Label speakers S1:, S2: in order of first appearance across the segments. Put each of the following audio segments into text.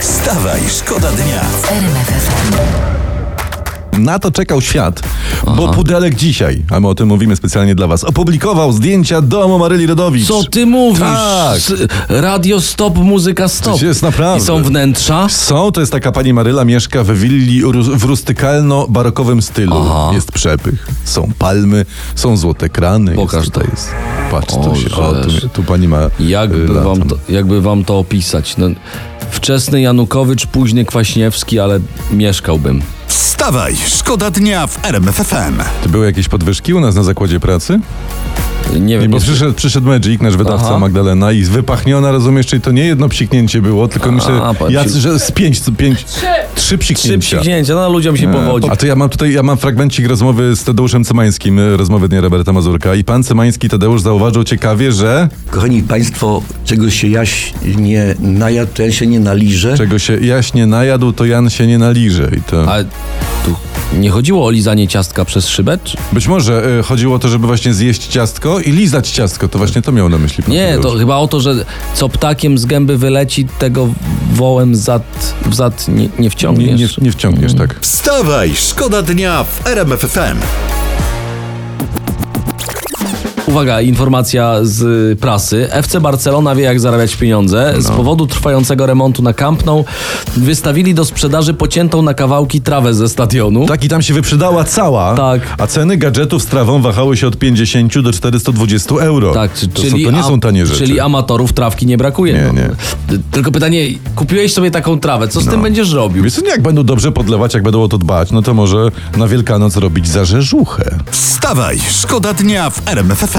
S1: Wstawaj, szkoda dnia.
S2: Na to czekał świat, bo Pudelek dzisiaj, a my o tym mówimy specjalnie dla was, opublikował zdjęcia domu Maryli Rodowicz.
S3: Co ty mówisz?
S2: Tak.
S3: S- Radio stop, muzyka stop.
S2: To jest naprawdę.
S3: I są wnętrza?
S2: Są, to jest taka pani Maryla, mieszka w willi rus- w rustykalno-barokowym stylu.
S3: Aha.
S2: Jest przepych, są palmy, są złote krany.
S3: Pokaż
S2: jest, tutaj
S3: to.
S2: Jest. Patrz,
S3: O,
S2: tu, się, o, tu,
S3: żeż.
S2: tu pani ma... y,
S3: Jakby
S2: lata.
S3: wam, to, jakby wam to opisać? No, wczesny Janukowicz, późny Kwaśniewski, ale mieszkałbym.
S1: Wstawaj, szkoda dnia w RMFFM.
S2: Ty były jakieś podwyżki u nas na zakładzie pracy?
S3: Nie
S2: Nie,
S3: wiem,
S2: bo
S3: jest-
S2: przyszedł, przyszedł Magic, nasz wydawca
S3: Aha.
S2: Magdalena i wypachniona, rozumiesz, czyli to nie jedno psiknięcie było, tylko myślę,
S3: patrz.
S2: ja, że z pięć, z pięć, trzy,
S3: trzy
S2: psiknięcia.
S3: przycięcia, no ludziom się powodzi.
S2: A to ja mam tutaj, ja mam fragmencik rozmowy z Tadeuszem Cymańskim, y, rozmowy dnia Roberta Mazurka i pan Cymański, Tadeusz, zauważył ciekawie, że
S4: Kochani Państwo, czego się jaś nie najadł, to ja się nie naliżę.
S2: czego się Jaś nie najadł, to Jan się nie naliże i to...
S3: Ale tu nie chodziło o lizanie ciastka przez szybę? Czy?
S2: Być może y, chodziło o to, żeby właśnie zjeść ciastko i lizać ciastko, to właśnie to miał na myśli pan
S3: Nie, no to
S2: Tadeusz.
S3: chyba o to, że co ptakiem z gęby wyleci, tego wołem zad, w zad nie, nie wciągniesz.
S2: Nie, nie, nie wciągniesz, tak.
S1: Wstawaj, szkoda dnia w RMFFM.
S3: Uwaga, informacja z prasy. FC Barcelona wie, jak zarabiać pieniądze. Z
S2: No.
S3: powodu trwającego remontu na Camp Nou wystawili do sprzedaży pociętą na kawałki trawę ze stadionu.
S2: Tak i tam się wyprzedała cała,
S3: Tak.
S2: a ceny gadżetów z trawą wahały się od 50 do 420 euro.
S3: Tak, czy-
S2: to, są, to nie
S3: a-
S2: są tanie rzeczy.
S3: Czyli amatorów trawki nie brakuje.
S2: Nie,
S3: no.
S2: nie. No.
S3: Ty- Tylko pytanie, kupiłeś sobie taką trawę, co z tym będziesz robił?
S2: Wiesz, co, jak będą dobrze podlewać, jak będą o to dbać, no to może na Wielkanoc robić zarzeżuchę.
S1: Wstawaj, szkoda dnia w RMFFM.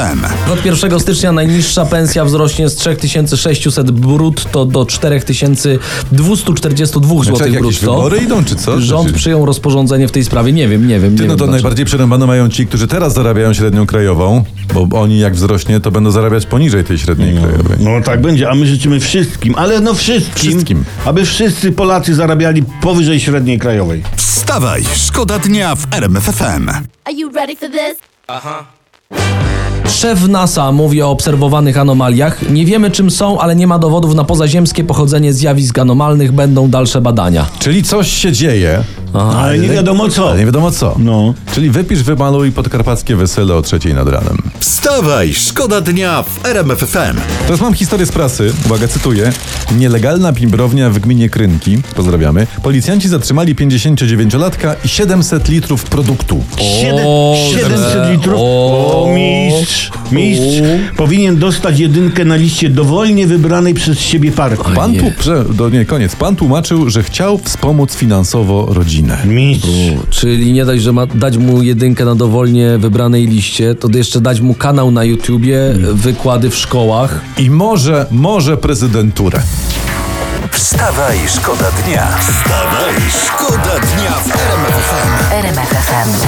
S3: Od 1 stycznia najniższa pensja wzrośnie z 3600 brutto do 4242
S2: Znaczy,
S3: zł
S2: jak jakieś
S3: brutto.
S2: wybory idą, czy co?
S3: Rząd
S2: Znaczy-
S3: przyjął rozporządzenie w tej sprawie. Nie wiem, nie wiem.
S2: Ty, no
S3: nie wiem
S2: to
S3: dlaczego.
S2: najbardziej przerąbane mają ci, którzy teraz zarabiają średnią krajową, bo oni jak wzrośnie, to będą zarabiać poniżej tej średniej krajowej.
S5: No tak będzie, a my życzymy wszystkim, ale no wszystkim,
S2: Wszystkim.
S5: aby wszyscy Polacy zarabiali powyżej średniej krajowej.
S1: Wstawaj, szkoda dnia w RMFFM.
S6: Are you ready for this?
S3: Szef NASA mówi o obserwowanych anomaliach. Nie wiemy czym są, ale nie ma dowodów na pozaziemskie pochodzenie zjawisk anomalnych. Będą dalsze badania.
S2: Czyli coś się dzieje,
S5: ale, nie wiadomo co.
S2: ale nie wiadomo co.
S5: No.
S2: Czyli wypisz, wymaluj podkarpackie wesele o trzeciej nad ranem.
S1: Wstawaj, szkoda dnia w RMFFM.
S2: Teraz mam historię z prasy. Uwaga, cytuję. Nielegalna pimbrownia w gminie Krynki. Pozdrawiamy. Policjanci zatrzymali 59-latka i 700 litrów produktu.
S5: Siedem-
S3: O,
S5: 700 litrów.
S3: o.
S5: O, mistrz, mistrz powinien dostać jedynkę na liście dowolnie wybranej przez siebie partii.
S2: Pan
S3: nie.
S2: tu, prze, do, nie, koniec. Pan tłumaczył, że chciał wspomóc finansowo rodzinę.
S5: Mistrz.
S3: Czyli nie dać, że ma dać mu jedynkę na dowolnie wybranej liście, to jeszcze dać mu kanał na YouTubie, wykłady w szkołach.
S2: I może, może prezydenturę.
S1: Wstawaj, szkoda dnia. Wstawaj, szkoda dnia w RMFFM.
S7: RMFFM.